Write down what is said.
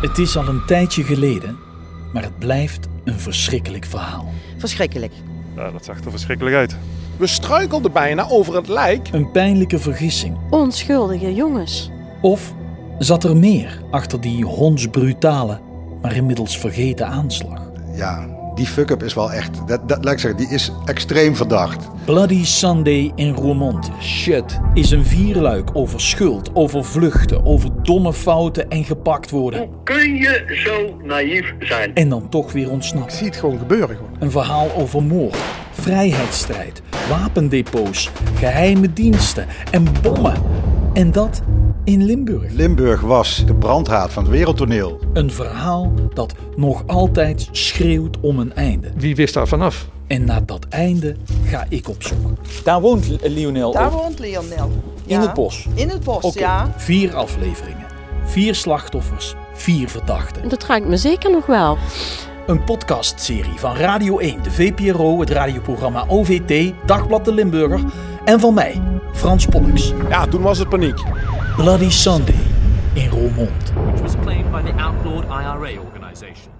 Het is al een tijdje geleden, maar het blijft een verschrikkelijk verhaal. Verschrikkelijk. Ja, dat zag er verschrikkelijk uit. We struikelden bijna over het lijk. Een pijnlijke vergissing. Onschuldige jongens. Of zat er meer achter die hondsbrutale, maar inmiddels vergeten aanslag? Ja, die fuck-up is wel echt. Dat, dat, laat ik zeggen, die is extreem verdacht. Bloody Sunday in Roermond Shit. is een vierluik over schuld, over vluchten, over domme fouten en gepakt worden. Hoe kun je zo naïef zijn? En dan toch weer ontsnappen. Ik zie het gewoon gebeuren. Gewoon. Een verhaal over moord, vrijheidsstrijd, wapendepots, geheime diensten en bommen. En dat in Limburg. Limburg was de brandhaat van het wereldtoneel. Een verhaal dat nog altijd schreeuwt om een einde. Wie wist daar vanaf? En naar dat einde ga ik op zoek. Daar woont Lionel Daar woont Leonel. Ja. In het bos. In het bos, Oké, ja. vier afleveringen. Vier slachtoffers, vier verdachten. Dat raakt me zeker nog wel. Een podcastserie van Radio 1, de VPRO, het radioprogramma OVT, Dagblad de Limburger en van mij, Frans Pollux. Ja, toen was het paniek. Bloody Sunday in Roermond. which was claimed by the outlawed IRA organization.